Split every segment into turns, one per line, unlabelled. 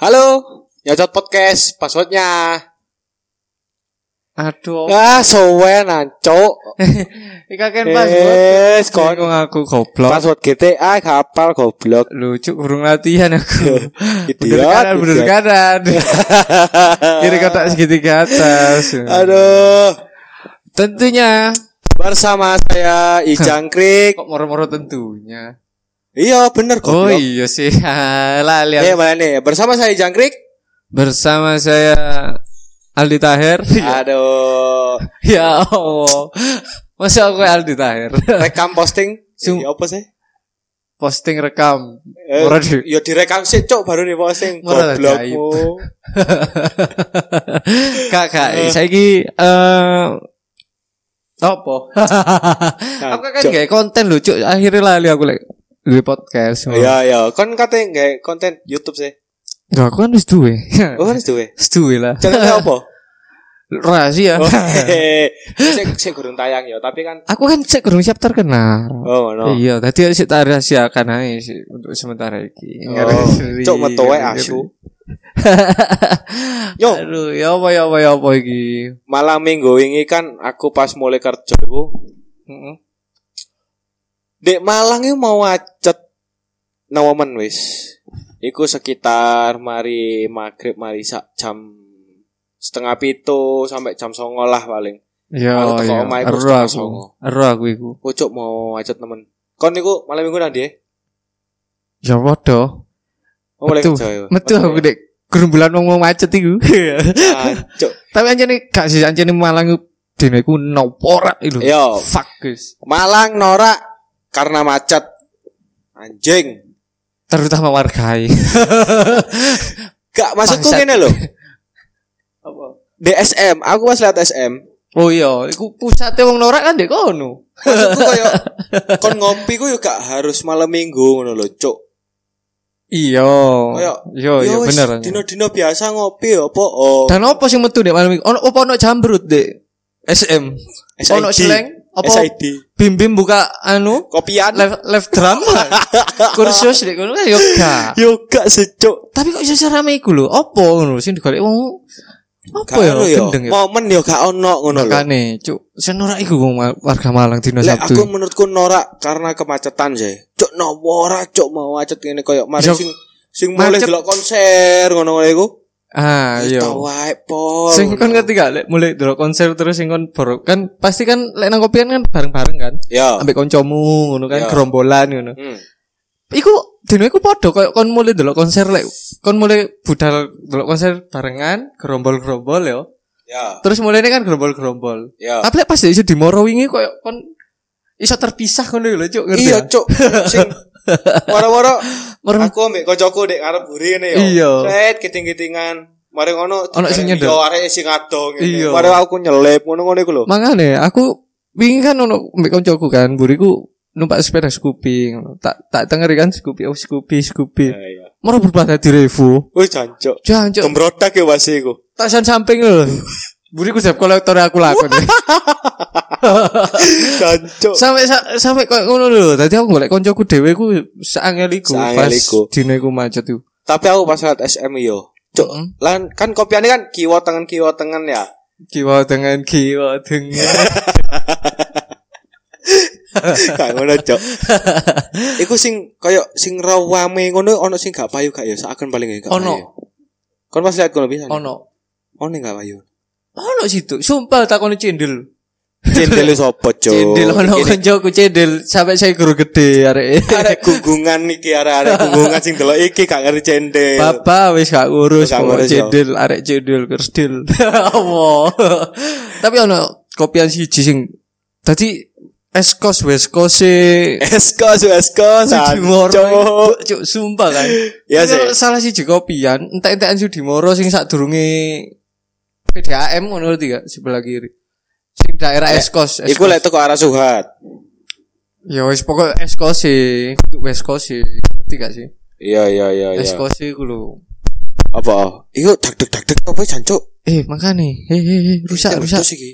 Halo, Yacot Podcast, passwordnya.
Aduh,
Ah, sowen anco.
iki kan password.
Eh,
Kon
kon
aku goblok.
password GTA kapal goblok.
Lucu kurung latihan aku. Bener
Idiot.
kanan, bener
idiot.
kanan. Kiri kotak segitiga atas.
Aduh.
Tentunya.
Bersama saya Ijang Krik.
Kok moro-moro tentunya.
Iya, bener
Oh
goblok.
iya sih. Lah
Eh,
lihat
mana nih? Bersama saya Ijang Krik.
bersama saya Aldi Taher.
Ah. Aduh.
ya Allah. Masa aku Aldi Taher.
Rekam posting.
Sum-
Ya apa sih?
Posting rekam.
Eh,
Ora, Dik.
ya direkam sih, cok baru di posting.
Ora,
Goblokmu.
Kak, kak, saiki eh apa? aku kan
Cok.
kayak konten lucu akhirnya lali aku lek di podcast.
Iya, iya. Kon katanya nggak konten YouTube sih.
Gak aku kan wis duwe.
Oh, harus duwe.
Wis duwe lah.
Channelnya apa?
Rahasia.
Oh, hehehe. Saya saya kurang tayang ya, tapi kan
aku kan cek kurang siap terkenal.
oh no.
Iya, tadi sik tak rahasiakan ae sih untuk sementara iki.
Oh,
Ngeri-ngeri,
cok metu wae
ngeri-ngeri.
asu. Yo,
Aduh, ya apa ya apa ya apa iki.
malam minggu ini kan aku pas mulai kerja iku
Heeh.
Dek Malang itu mau acet nawamen wis. Iku sekitar mari maghrib mari sak jam setengah pitu sampai jam songo lah paling.
Ya,
Aku teko
ya.
omahe
Ero
Mustafa
aku.
Songo.
Ero aku iku.
Oh, cok mau acet temen. Kon niku malam minggu nanti ya?
Ya padha.
Oh, mulai
Metu.
kerja ya?
Metu aku dek gerombolan wong wong macet iku.
Ah, cok.
Tapi anjene gak sih anjene Malang iku dene iku noporat lho.
Yo.
fuck guys.
Malang norak karena macet. Anjing.
Terutama wargai.
Gak maksudku
Bangsat.
gini loh. Di SM, aku pas lihat SM,
oh iya, iku pusate wong norak kan dek kono.
maksudku koyo kon ngopi ku juga harus malam minggu ngono lho, Cuk.
Iya.
Kayak,
Iya, iya
wis,
bener.
Dino-dino biasa ngopi ya apa? Oh,
Dan apa sing metu dek malam iki? Ono apa ono jambrut dek? SM.
SID.
Ono seleng apa
SID.
bim-bim buka anu
Kopian.
left left drum kursus dek kono kan yo gak.
Yo gak secuk.
Tapi kok iso serame iku lho? Apa ngono sing digolek wong apa
Gak
ya
ono yo.
gendeng ya?
Momen yo gak ono ngono lho.
Makane, cuk, senora iku wong ma- warga Malang dina
Lek aku
Sabtu.
menurutku norak karena kemacetan sih. Cuk nawara cuk mau macet ngene koyo mari
Yo,
sing sing mulai
macet.
delok konser ngono-ngono iku.
Ah, iya.
Tau wae pol.
Sing kon ngerti gak lek mulai delok konser terus sing kon baru kan pasti kan lek nang kopian kan bareng-bareng kan.
Yo.
Ambek koncomu ngono
Iya.
kan gerombolan ngono.
Ya. Hmm.
Iku dina iku padha koyo kon mulai delok konser lek kon mulai budal delok konser barengan gerombol-gerombol yo.
Ya,
Terus mulainya kan gerombol-gerombol.
ya.
Tapi lek pas iso dimoro wingi koyo kon iso terpisah ngono lho, Cuk, ngerti?
Iya,
ya? gak?
cuk. Sing waro-waro
Moro-
aku ambek kancaku dek arep buri ngene yo.
Iya.
Set kiting-kitingan. Mari ngono
Ono sing nyedot.
Yo arek sing ado ngene.
Iya.
Mari aku nyelip ngono-ngono iku lho.
Mangane aku wingi kan ono mbek koncoku kan, buriku numpak sepeda Scoopy. ngono. Tak tak tengeri kan Scoopy, oh Scoopy, Scoopy.
Ya, iya.
Moro berubah dadi revo.
Wis jancuk.
Jancuk,
Gembrotak ya wasi iku.
tasan samping lho. Buriku siap kolektor aku lakon.
Jancuk.
sampai sa- sampai koyo ngono lho. Dadi aku golek koncoku dhewe ku saangel iku
Saangel iku.
dine iku macet iku.
Tapi aku pas lihat SM yo. Cuk,
Mm.
lan kan kopiannya kan kiwa tangan kiwa tangan ya.
Kiwa dengan kiwa dengan.
Gak ngono, Cuk. Iku sing koyo sing rawame ngono ono sing gak payu gak ya. Saken paling gak.
Ono.
payu. Kon pas lihat ngono bisa.
ono.
Ono gak payu.
Ono situ. Sumpah takon cendel.
Cendel sopo, Cuk?
Cendel ono
Iki
koncoku cendel sampai saya guru gede arek.
arek gunggungan iki arek-arek gunggungan sing delok iki gak ngerti cendel.
Papa wis gak ngurus
Wis gak
pokok
ngurus, ya.
cedil arek cedil kersdil. Apa? Tapi ono kopian siji sing dadi Eskos West Coast e
Eskos, eskos,
Sudimoro.
Eh, Cuk.
Cuk, sumpah kan.
Iya
Tapi ono
sih.
salah siji kopian, entek-entekan Sudimoro sing sadurunge PDAM ngono ngerti gak sebelah kiri. Sing daerah Eskos.
Ya. Iku
Eskos.
lek teko arah Suhat.
Ya wis pokok Eskos e, kudu West Coast e. Ngerti gak sih?
Iya, iya, iya, iya.
Eskos e ku lho.
Apa? Iku dak dak dak apa jancuk?
Eh, makane. Eh, eh, eh, rusak, rusak.
Terus iki.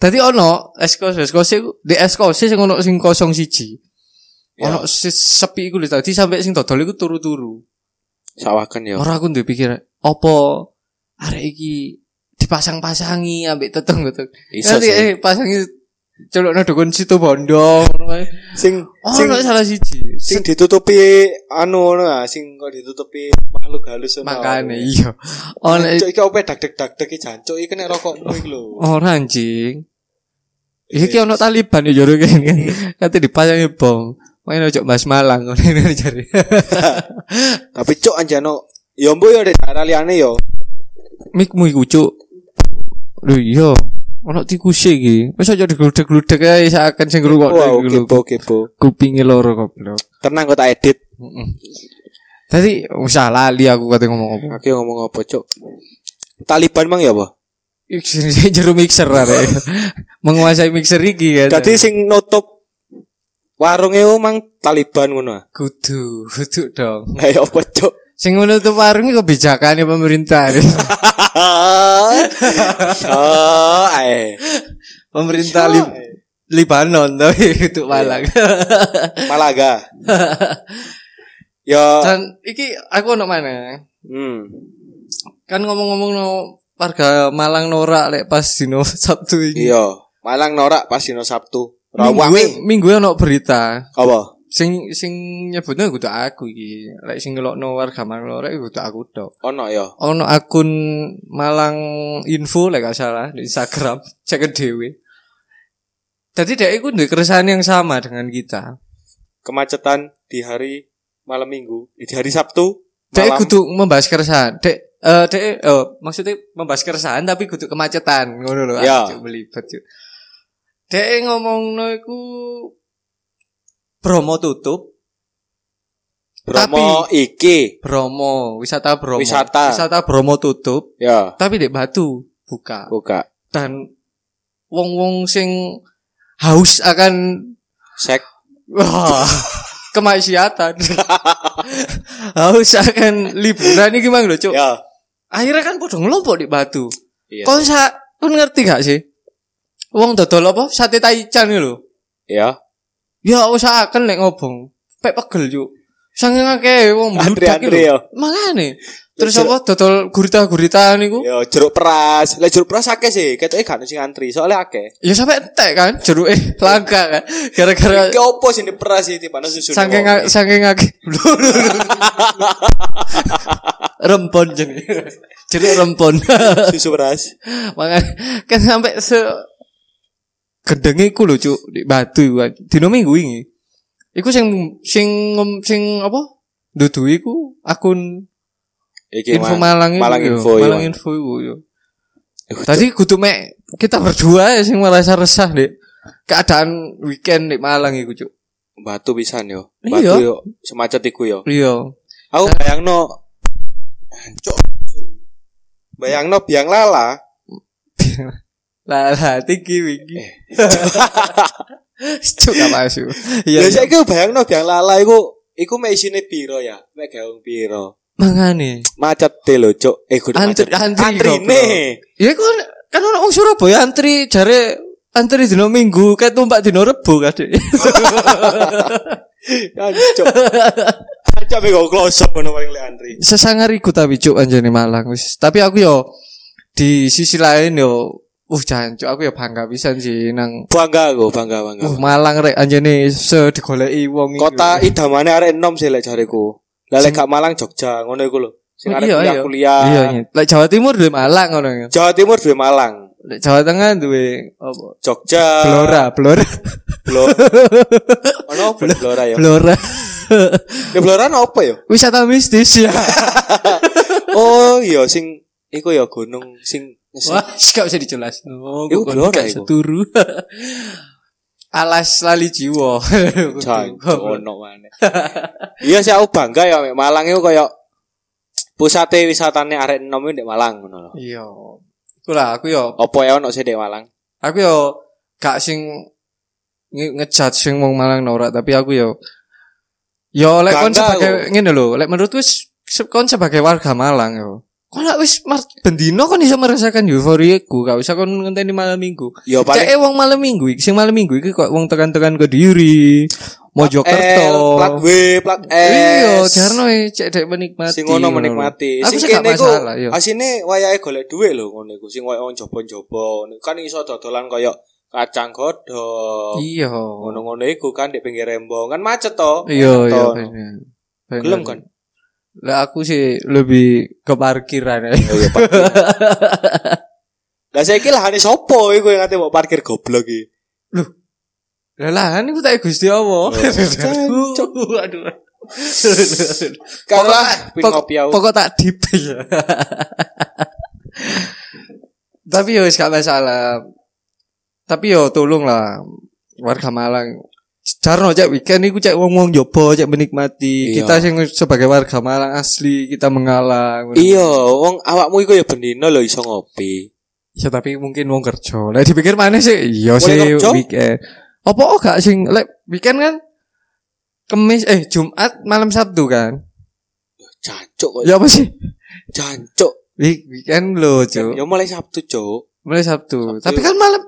Tadi ono eskos eskos iku- di eskos sing ono sing kosong siji.
Ya.
Ono si- sepi iku lho tadi sampai sing dodol iku turu-turu.
Sawakan ya.
Ora aku duwe pikir opo arek iki dipasang-pasangi ambek teteng-teteng.
Iso
Nanti
sih.
eh pasangi celokno dukun situ bondo ngono kae.
Sing
Oh,
sing
ono salah siji.
sing ditutupi anu ngono ah, sing kok ditutupi makhluk halus ngono.
Makane iya. Ono
Jancuk iki opo dak-dak-dak iki jancuk iki nek rokokmu iki lho.
ora anjing. Oh, iya, Iki ono Taliban ya jero kene. Kate dipasangi bom. Main ojo Mas Malang ngono ini jare.
Tapi cuk anjano ya mbok ya dek daerah liyane ya.
Mikmu iku cuk. Lho iya. Ono tikuse iki. Wis aja digludeg-gludeg ae seakan sing ngrungokno
Wow,
iku lho.
kepo kepo.
kupinge loro goblok.
Tenang kok tak edit.
Tadi usah lali aku kate ngomong apa.
Aku ngomong apa cuk? Taliban mang ya apa?
Ih, sini- sini Jero mixer arek. Menguasai mixer iki kan.
Dadi sing nutup warunge ku mang Taliban ngono. ah.
kudu, kudu dong.
Lah ya apa cuk?
Sing menutup warung iki kebijakane pemerintah.
Oh, ae.
pemerintah Lib Iya. Libanon tapi kudu malang.
Malaga. Ya,
Dan iki aku ono mana?
hmm.
Kan ngomong-ngomong no warga Malang norak lek pas dino Sabtu ini.
Iya, Malang norak pas dino Sabtu.
Minggu
Rawangi
minggu ono berita.
apa?
sing sing nyebutnya kudu aku iki lek sing ngelokno warga Malang lorek kudu aku tok
Ono ya.
ono akun Malang info lek gak salah di Instagram cek dhewe jadi dia itu duwe keresahan yang sama dengan kita
Kemacetan di hari malam Minggu, eh, di hari Sabtu
dia
malam.
kudu membahas keresahan dek eh dek eh, maksudnya membahas keresahan tapi kudu kemacetan ngono lho
Ya.
Aduh, belibet yuk dek ngomong iku Bromo tutup
Bromo iki.
Bromo wisata Bromo
Wisata.
wisata Bromo tutup
Ya,
tapi dek batu buka
buka.
dan wong-wong sing haus akan
Sek.
wah, kemaksiatan haus akan liburan ini gimana lho cuk
Ya.
akhirnya kan podo ngelompok di batu
Iya.
kon sa kon ngerti gak sih wong dodol apa sate taichan iki lho Iya.
Ya.
ya usahakan lek ngobong pek pegel yuk sange ngake wong bludak iki
Antri-antri ya.
lho. makane terus
Jeruk-
apa dodol gurita-gurita niku
Ya, jeruk peras. Lah jeruk peras akeh sih, ketoke gak ada sing antri, soalnya akeh.
ya sampai entek kan jeruke langka kan gara-gara
Iki opo sih di peras iki tiba susu.
saking
wong.
saking akeh rempon jenenge jeruk rempon
susu peras.
makanya kan sampai se gedenge iku lho cuk di batu iku kan dino minggu ini iku sing sing ngom- sing apa dudu iku akun
Iki
info
Mas.
Malang iku
Malang
yo.
info, Eh, iya,
Malang
Mas.
info iku yo.
Duh,
Tadi kudu mek kita berdua ya sing merasa resah, Dek. Keadaan weekend di Malang iku, Cuk.
Batu pisan yo. Batu
Iya.
yo semacet iku yo.
Iya.
Aku
Eh.
bayangno Cuk. Bayangno biang lala.
Lah, lah tinggi wingi.
Eh.
Cuk gak masuk.
Ya
Iya. iya.
saiki bayangno biang lala iku iku mek isine piro ya? Mek gaung piro?
Mangane.
Macet te lho, Cuk. Eh kudu
Antri-
macet.
antri,
Antrine.
Ya kan kan orang wong Surabaya antri jare antri dino Minggu, kayak tumpak dino Rebo kadek.
Ya, Cuk. Aja mek go close up ngono paling lek antri.
sesangariku tapi cuk anjane Malang wis. Tapi aku yo di sisi lain yo uh jancuk aku yo bangga pisan sih nang
Bangga aku, bangga bangga.
uh Malang rek anjane se digoleki wong iki.
Iya. Kota idamane arek enom sih lek jareku. Lah lek gak Malang Jogja ngono iku lho. Sing
Oh,
arek
iya, iya.
kuliah-kuliah.
Iya, iya. Lek Jawa Timur duwe Malang ngono. ya.
Jawa Timur duwe Malang,
Lek Jawa Tengah duwe apa?
Jogja,
Blora, Blora,
Blo. Ono apa di Blora ya?
Blora.
Di Blora ono apa ya?
Wisata mistis ya.
Iya. Oh iya sing iku ya gunung sing ngesek.
Wah, gak bisa dijelas. Oh,
Iku
kok
Blora,
gak
iku.
seturu. Alas lali jiwa.
Jan, ono maneh. Iya sih aku bangga ya mek Malang iku koyo pusate wisatane arek enom iku di Malang ngono lho.
Iya. Ikulah aku yo
Apa ya ono sih di Malang?
aku yo gak sing nge- ngejudge sing wong Malang ora tapi aku yo yo lek kon
Bangga
sebagai ngene lho lek menurutku kon sebagai warga Malang yo Kalau wis mar bendino kan iso merasakan euforiaku, gak usah kon ngenteni malam minggu.
Ya
Paling...
paling
wong malam minggu, iki, sing malam minggu iki kok wong tekan-tekan ke diri, Mojokerto.
L, plat W, plat Eh, S.
Iya, jarno e cek dek menikmati.
Sing ngono menikmati.
Aku
Sing
sih gak
kene iku
masalah, iya.
asine wayahe golek dhuwit lho ngono iku. Sing wayahe njaba-njaba. Kan iso dodolan koyo kacang godhog.
Iya.
Ngono-ngono iku kan di pinggir rembong. Kan macet to.
Iya,
Macet
iya.
to.
bener. Bener.
Gelem kan?
Lah aku sih lebih ke parkiran ya.
Oh iya, parkir. Lah saiki lahane sopo iku yang ngate mau parkir goblok iki.
Lah lahan iku tak Gusti
Oh,
Allah.
Cancuk.
Aduh. aduh.
Kalah pin
pokok-
ngopi aku.
Pokok tak dipil. Tapi yo gak masalah. Tapi yo tolong lah warga Malang. Jarno cek weekend iku cek wong-wong jopo cek menikmati.
Iya.
Kita sing sebagai warga Malang asli kita mengalah. ngono.
Iya, wong awakmu iku ya bendino lho iso ngopi.
Ya tapi mungkin wong kerja. Lah dipikir mana sih? Iya
Wong
sih
kerja?
weekend. Apa oh gak sing lek weekend kan Kemis eh Jumat malam Sabtu kan.
Jancuk kok.
Ya apa sih?
Jancuk.
Week- Weekend lo, Cuk.
Ya mulai Sabtu, Cuk.
Mulai Sabtu.
Sabtu.
Tapi kan malam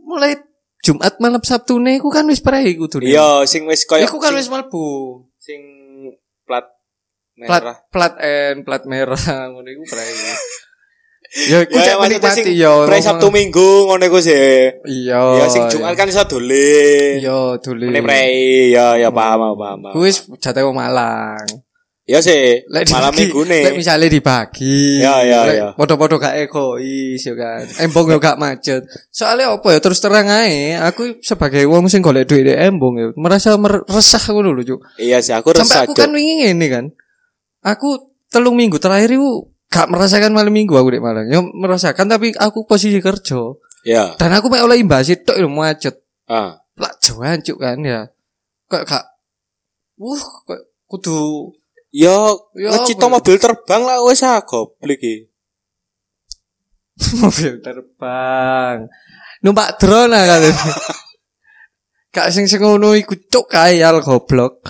mulai Jumat malam Sabtu nih iku kan wis prei kudu nih.
Iya, sing wis koyo
Iku kan
sing-
wis mlebu.
sing plat merah.
Plat plat N, plat merah ngono iku prei. Ya iku
Ya,
cek
maksudnya sing
menikmati yo.
Pre
ngomong-
Sabtu Minggu ngono iku sih.
Iya.
Ya sing Jumat kan iso dolen.
Yo, dulu.
Mene prei, ya ya paham aku, paham. paham.
Kuwi jate wong Malang.
Ya sih,
Lek
malam
dibagi- Lek
Minggu
misalnya dibagi.
Ya, ya,
Lek
ya.
Podo-podo gak egois ya kan. Embong yo gak macet. Soalnya apa ya terus terang aja aku sebagai wong sing golek duit di embong ya merasa mer- resah ngono lho, Cuk.
Iya sih, aku resah,
Sampai aku kan
Cuk.
wingi ngene kan. Aku telung minggu terakhir itu gak merasakan malam minggu aku di Malang. Yo merasakan tapi aku posisi kerja
Ya.
dan aku mek oleh imbas itu macet.
Ah.
Lah jauhan cuk kan ya. Kok gak Wuh, kok kudu
Yo,
Ya,
ngecito
apa?
mobil terbang lah wis ah goblok iki.
mobil terbang numpak drone lah kan gak sing sing ngono iku cuk kayal goblok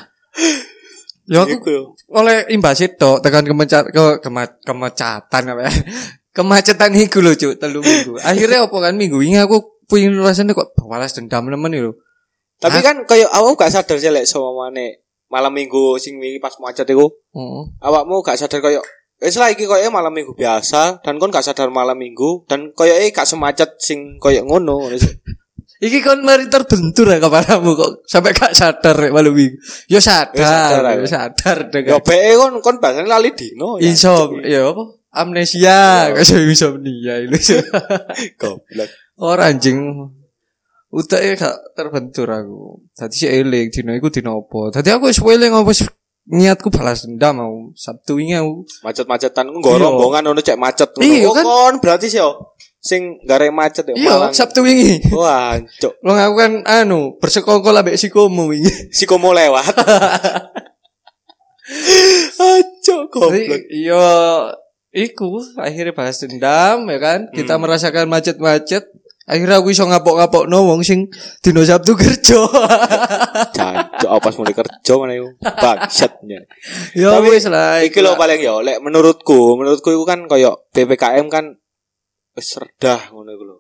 ya aku
Iku yo.
oleh imbas itu tekan kemencat ke kema- kemecatan apa ya kemacetan iku lho cuk telu minggu akhirnya apa kan minggu ini aku punya rasanya kok balas dendam nemen lho
Tapi
Ah.
kan koyo awakmu gak sadar sih lek somane malam Minggu sing wingi pas macet iku.
Heeh.
awakmu gak sadar koyo wis lah iki koyo malam minggu biasa dan kon gak sadar malam minggu dan koyo gak semacet sing koyo ngono ngono sih.
Iki kon mari terbentur ya keparamu kok sampai gak sadar ya malu minggu. Yo
Ya sadar,
sadar,
ya.
yo sadar dengan
yo bae kon kon biasanya lali dino ya.
Insom, ya apa? Amnesia,
Iya.
gak sih insomnia itu.
goblok
Orang anjing. Utake gak terbentur aku. Tadi sih eling dino iku dino apa? Tadi aku wis eling apa sih? niatku balas dendam aku. Sabtu ini aku.
macet-macetan nggo
Iya.
rombongan ngono cek macet ngono.
Iya,
Oh,
kan?
kon berarti sih yo sing gare macet yo
Iya,
malang.
Sabtu ini.
Wah, cok.
Lo aku kan anu, bersekongkol ambek sikomu ini.
Si komo lewat. Ajo goblok.
Jadi, Iya, iku akhirnya balas dendam ya kan.
Hmm.
Kita merasakan macet-macet. Akhirnya aku iso ngapok-ngapok wong sing dino Sabtu kerja.
Jancuk apa mulai kerja mana iku. Bangsatnya.
Ya
Tapi,
wis lah.
Iki lho paling yo lek menurutku, menurutku iku kan koyo PPKM kan wis redah ngono iku lho.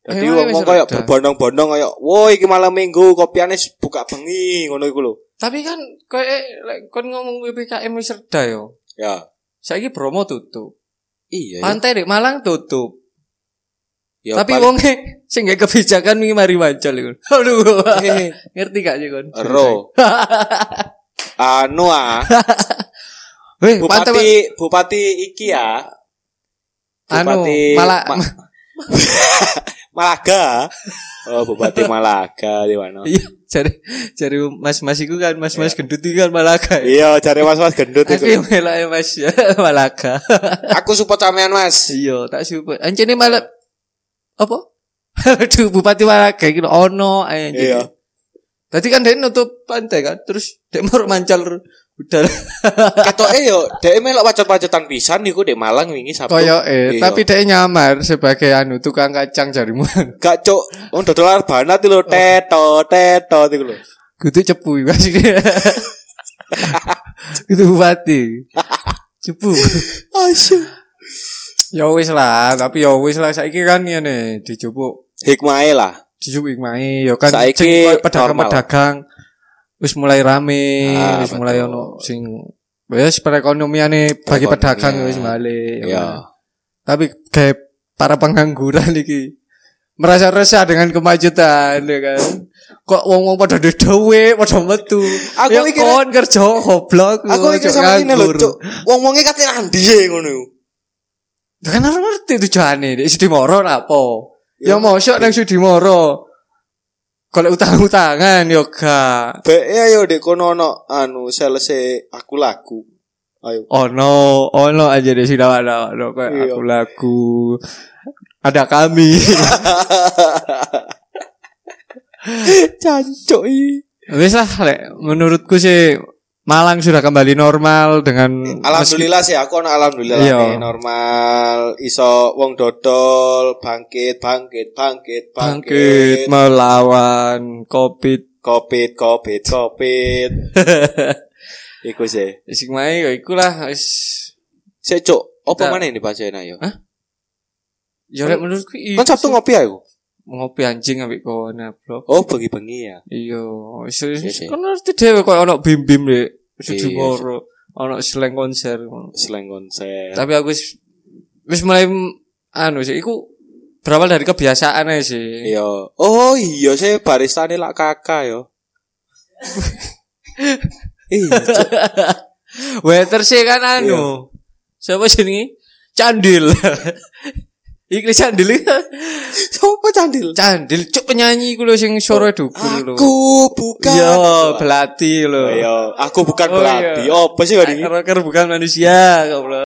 Dadi
Emang
wong
wis
wong koyo
redah?
berbondong-bondong koyo, "Woi, iki malam Minggu kopiane s- buka bengi" ngono iku lho.
Tapi kan kowe lek kon ngomong PPKM wis reda yo.
Ya.
Saiki Bromo tutup.
Iya. ya.
Pantai dek Malang tutup.
Eh. Ya,
Tapi
paling-
wonge sing gak kebijakan wingi mari wancol iku. Aduh.
Eh,
Ngerti gak sih kon?
ero. Anu ah,
Weh, pantai
bupati bupati iki ya.
anu
Bupati
malah
Ma- Malaga. Oh, bupati Malaga di mana?
iya jare jare mas-mas iku kan mas-mas gendut iku kan Malaga. ya.
Iya, cari mas-mas gendut
Aku
itu.
yang melake Mas ya, Malaga.
Aku support sampean, Mas.
Iya, tak support. Anjene malah apa? Aduh, Bupati Malaga iki lho, ono ae anjene.
Iya.
Tadi kan dia nutup pantai kan, terus dia mau mancal udara.
Ketoke yo dhek melok pacet-pacetan pisan niku di Malang wingi Sabtu.
Koyo eh,
Iya.
tapi dia nyamar sebagai anu tukang kacang jarimu.
Gak cuk, wong dodol banat lho teto teto iku lho.
Gitu cepu kasih dia. gitu bupati. cepu.
Asyik.
Ya wis lah, tapi ya wis lah saiki kan ngene dijupuk
Hikmahe lah.
dijupuk ikmae ya kan
Saiki
sing
normal.
pedagang-pedagang wis mulai rame,
Ah,
wis mulai
betul.
ono sing wis perekonomiane bagi
Perekonomian.
pedagang wis balik. ya kan.
Ya.
Tapi kayak para pengangguran iki merasa resah dengan kemajutan ya kan. Kok wong-wong pada duwe duwe, pada metu.
Aku
ya
mikirnya-
kon kerja goblok.
Aku
lu,
iki
cok,
sama ini lho,
nganggur.
Cuk. Wong-wonge kate nandi sih ngono. iku.
Ya kan harus ngerti tujuannya Dek Sudimoro apa
Ya.
Ya mosok nang Sudimoro Kalau utang-utangan yo gak
Bae ayo dek kono ono anu salese aku laku. Ayo.
Ono Ono aja deh sih dawak dawak dawak, kayak
Iya.
aku laku Ada kami
Cancuk iki.
Wis lah Lek. Menurutku sih Malang sudah kembali normal Dengan
Alhamdulillah sih aku ono alhamdulillah
Iya.
nih, normal iso wong dodol bangkit bangkit bangkit
meski- Bangkit
bangkit
Melawan Covid
covid covid covid iku sih
Sing mae yo ikulah wis
sik cuk opo
Kita-
maneh ini pacena yo
Hah? Yo lek menurutku iya
kan Sabtu
sih.
ngopi aku
ngopi anjing ambek kono blok
oh bengi-bengi ya
Iya,
Iya
serius
sih.
kan ngerti dhewe koyo ono bim-bim lek Sudimoro,
Iya
ono seleng konser. ngono.
selain konser
Tapi aku wis wis mulai m- anu sih iku berawal dari kebiasaan aja sih.
iya oh iya sih baristane lak kakak yo iya Cuk.
Waiter sih kan anu. Siapa sini? Candil. Iki candil. iki.
Sopo candil
Candil cuk penyanyi iku lho sing sore dukul lho.
aku bukan
Yo, belati lho.
Ayo, Iya. aku bukan
Oh,
belati.
iya.
Apa sih kali ini?
Rocker bukan manusia, goblok.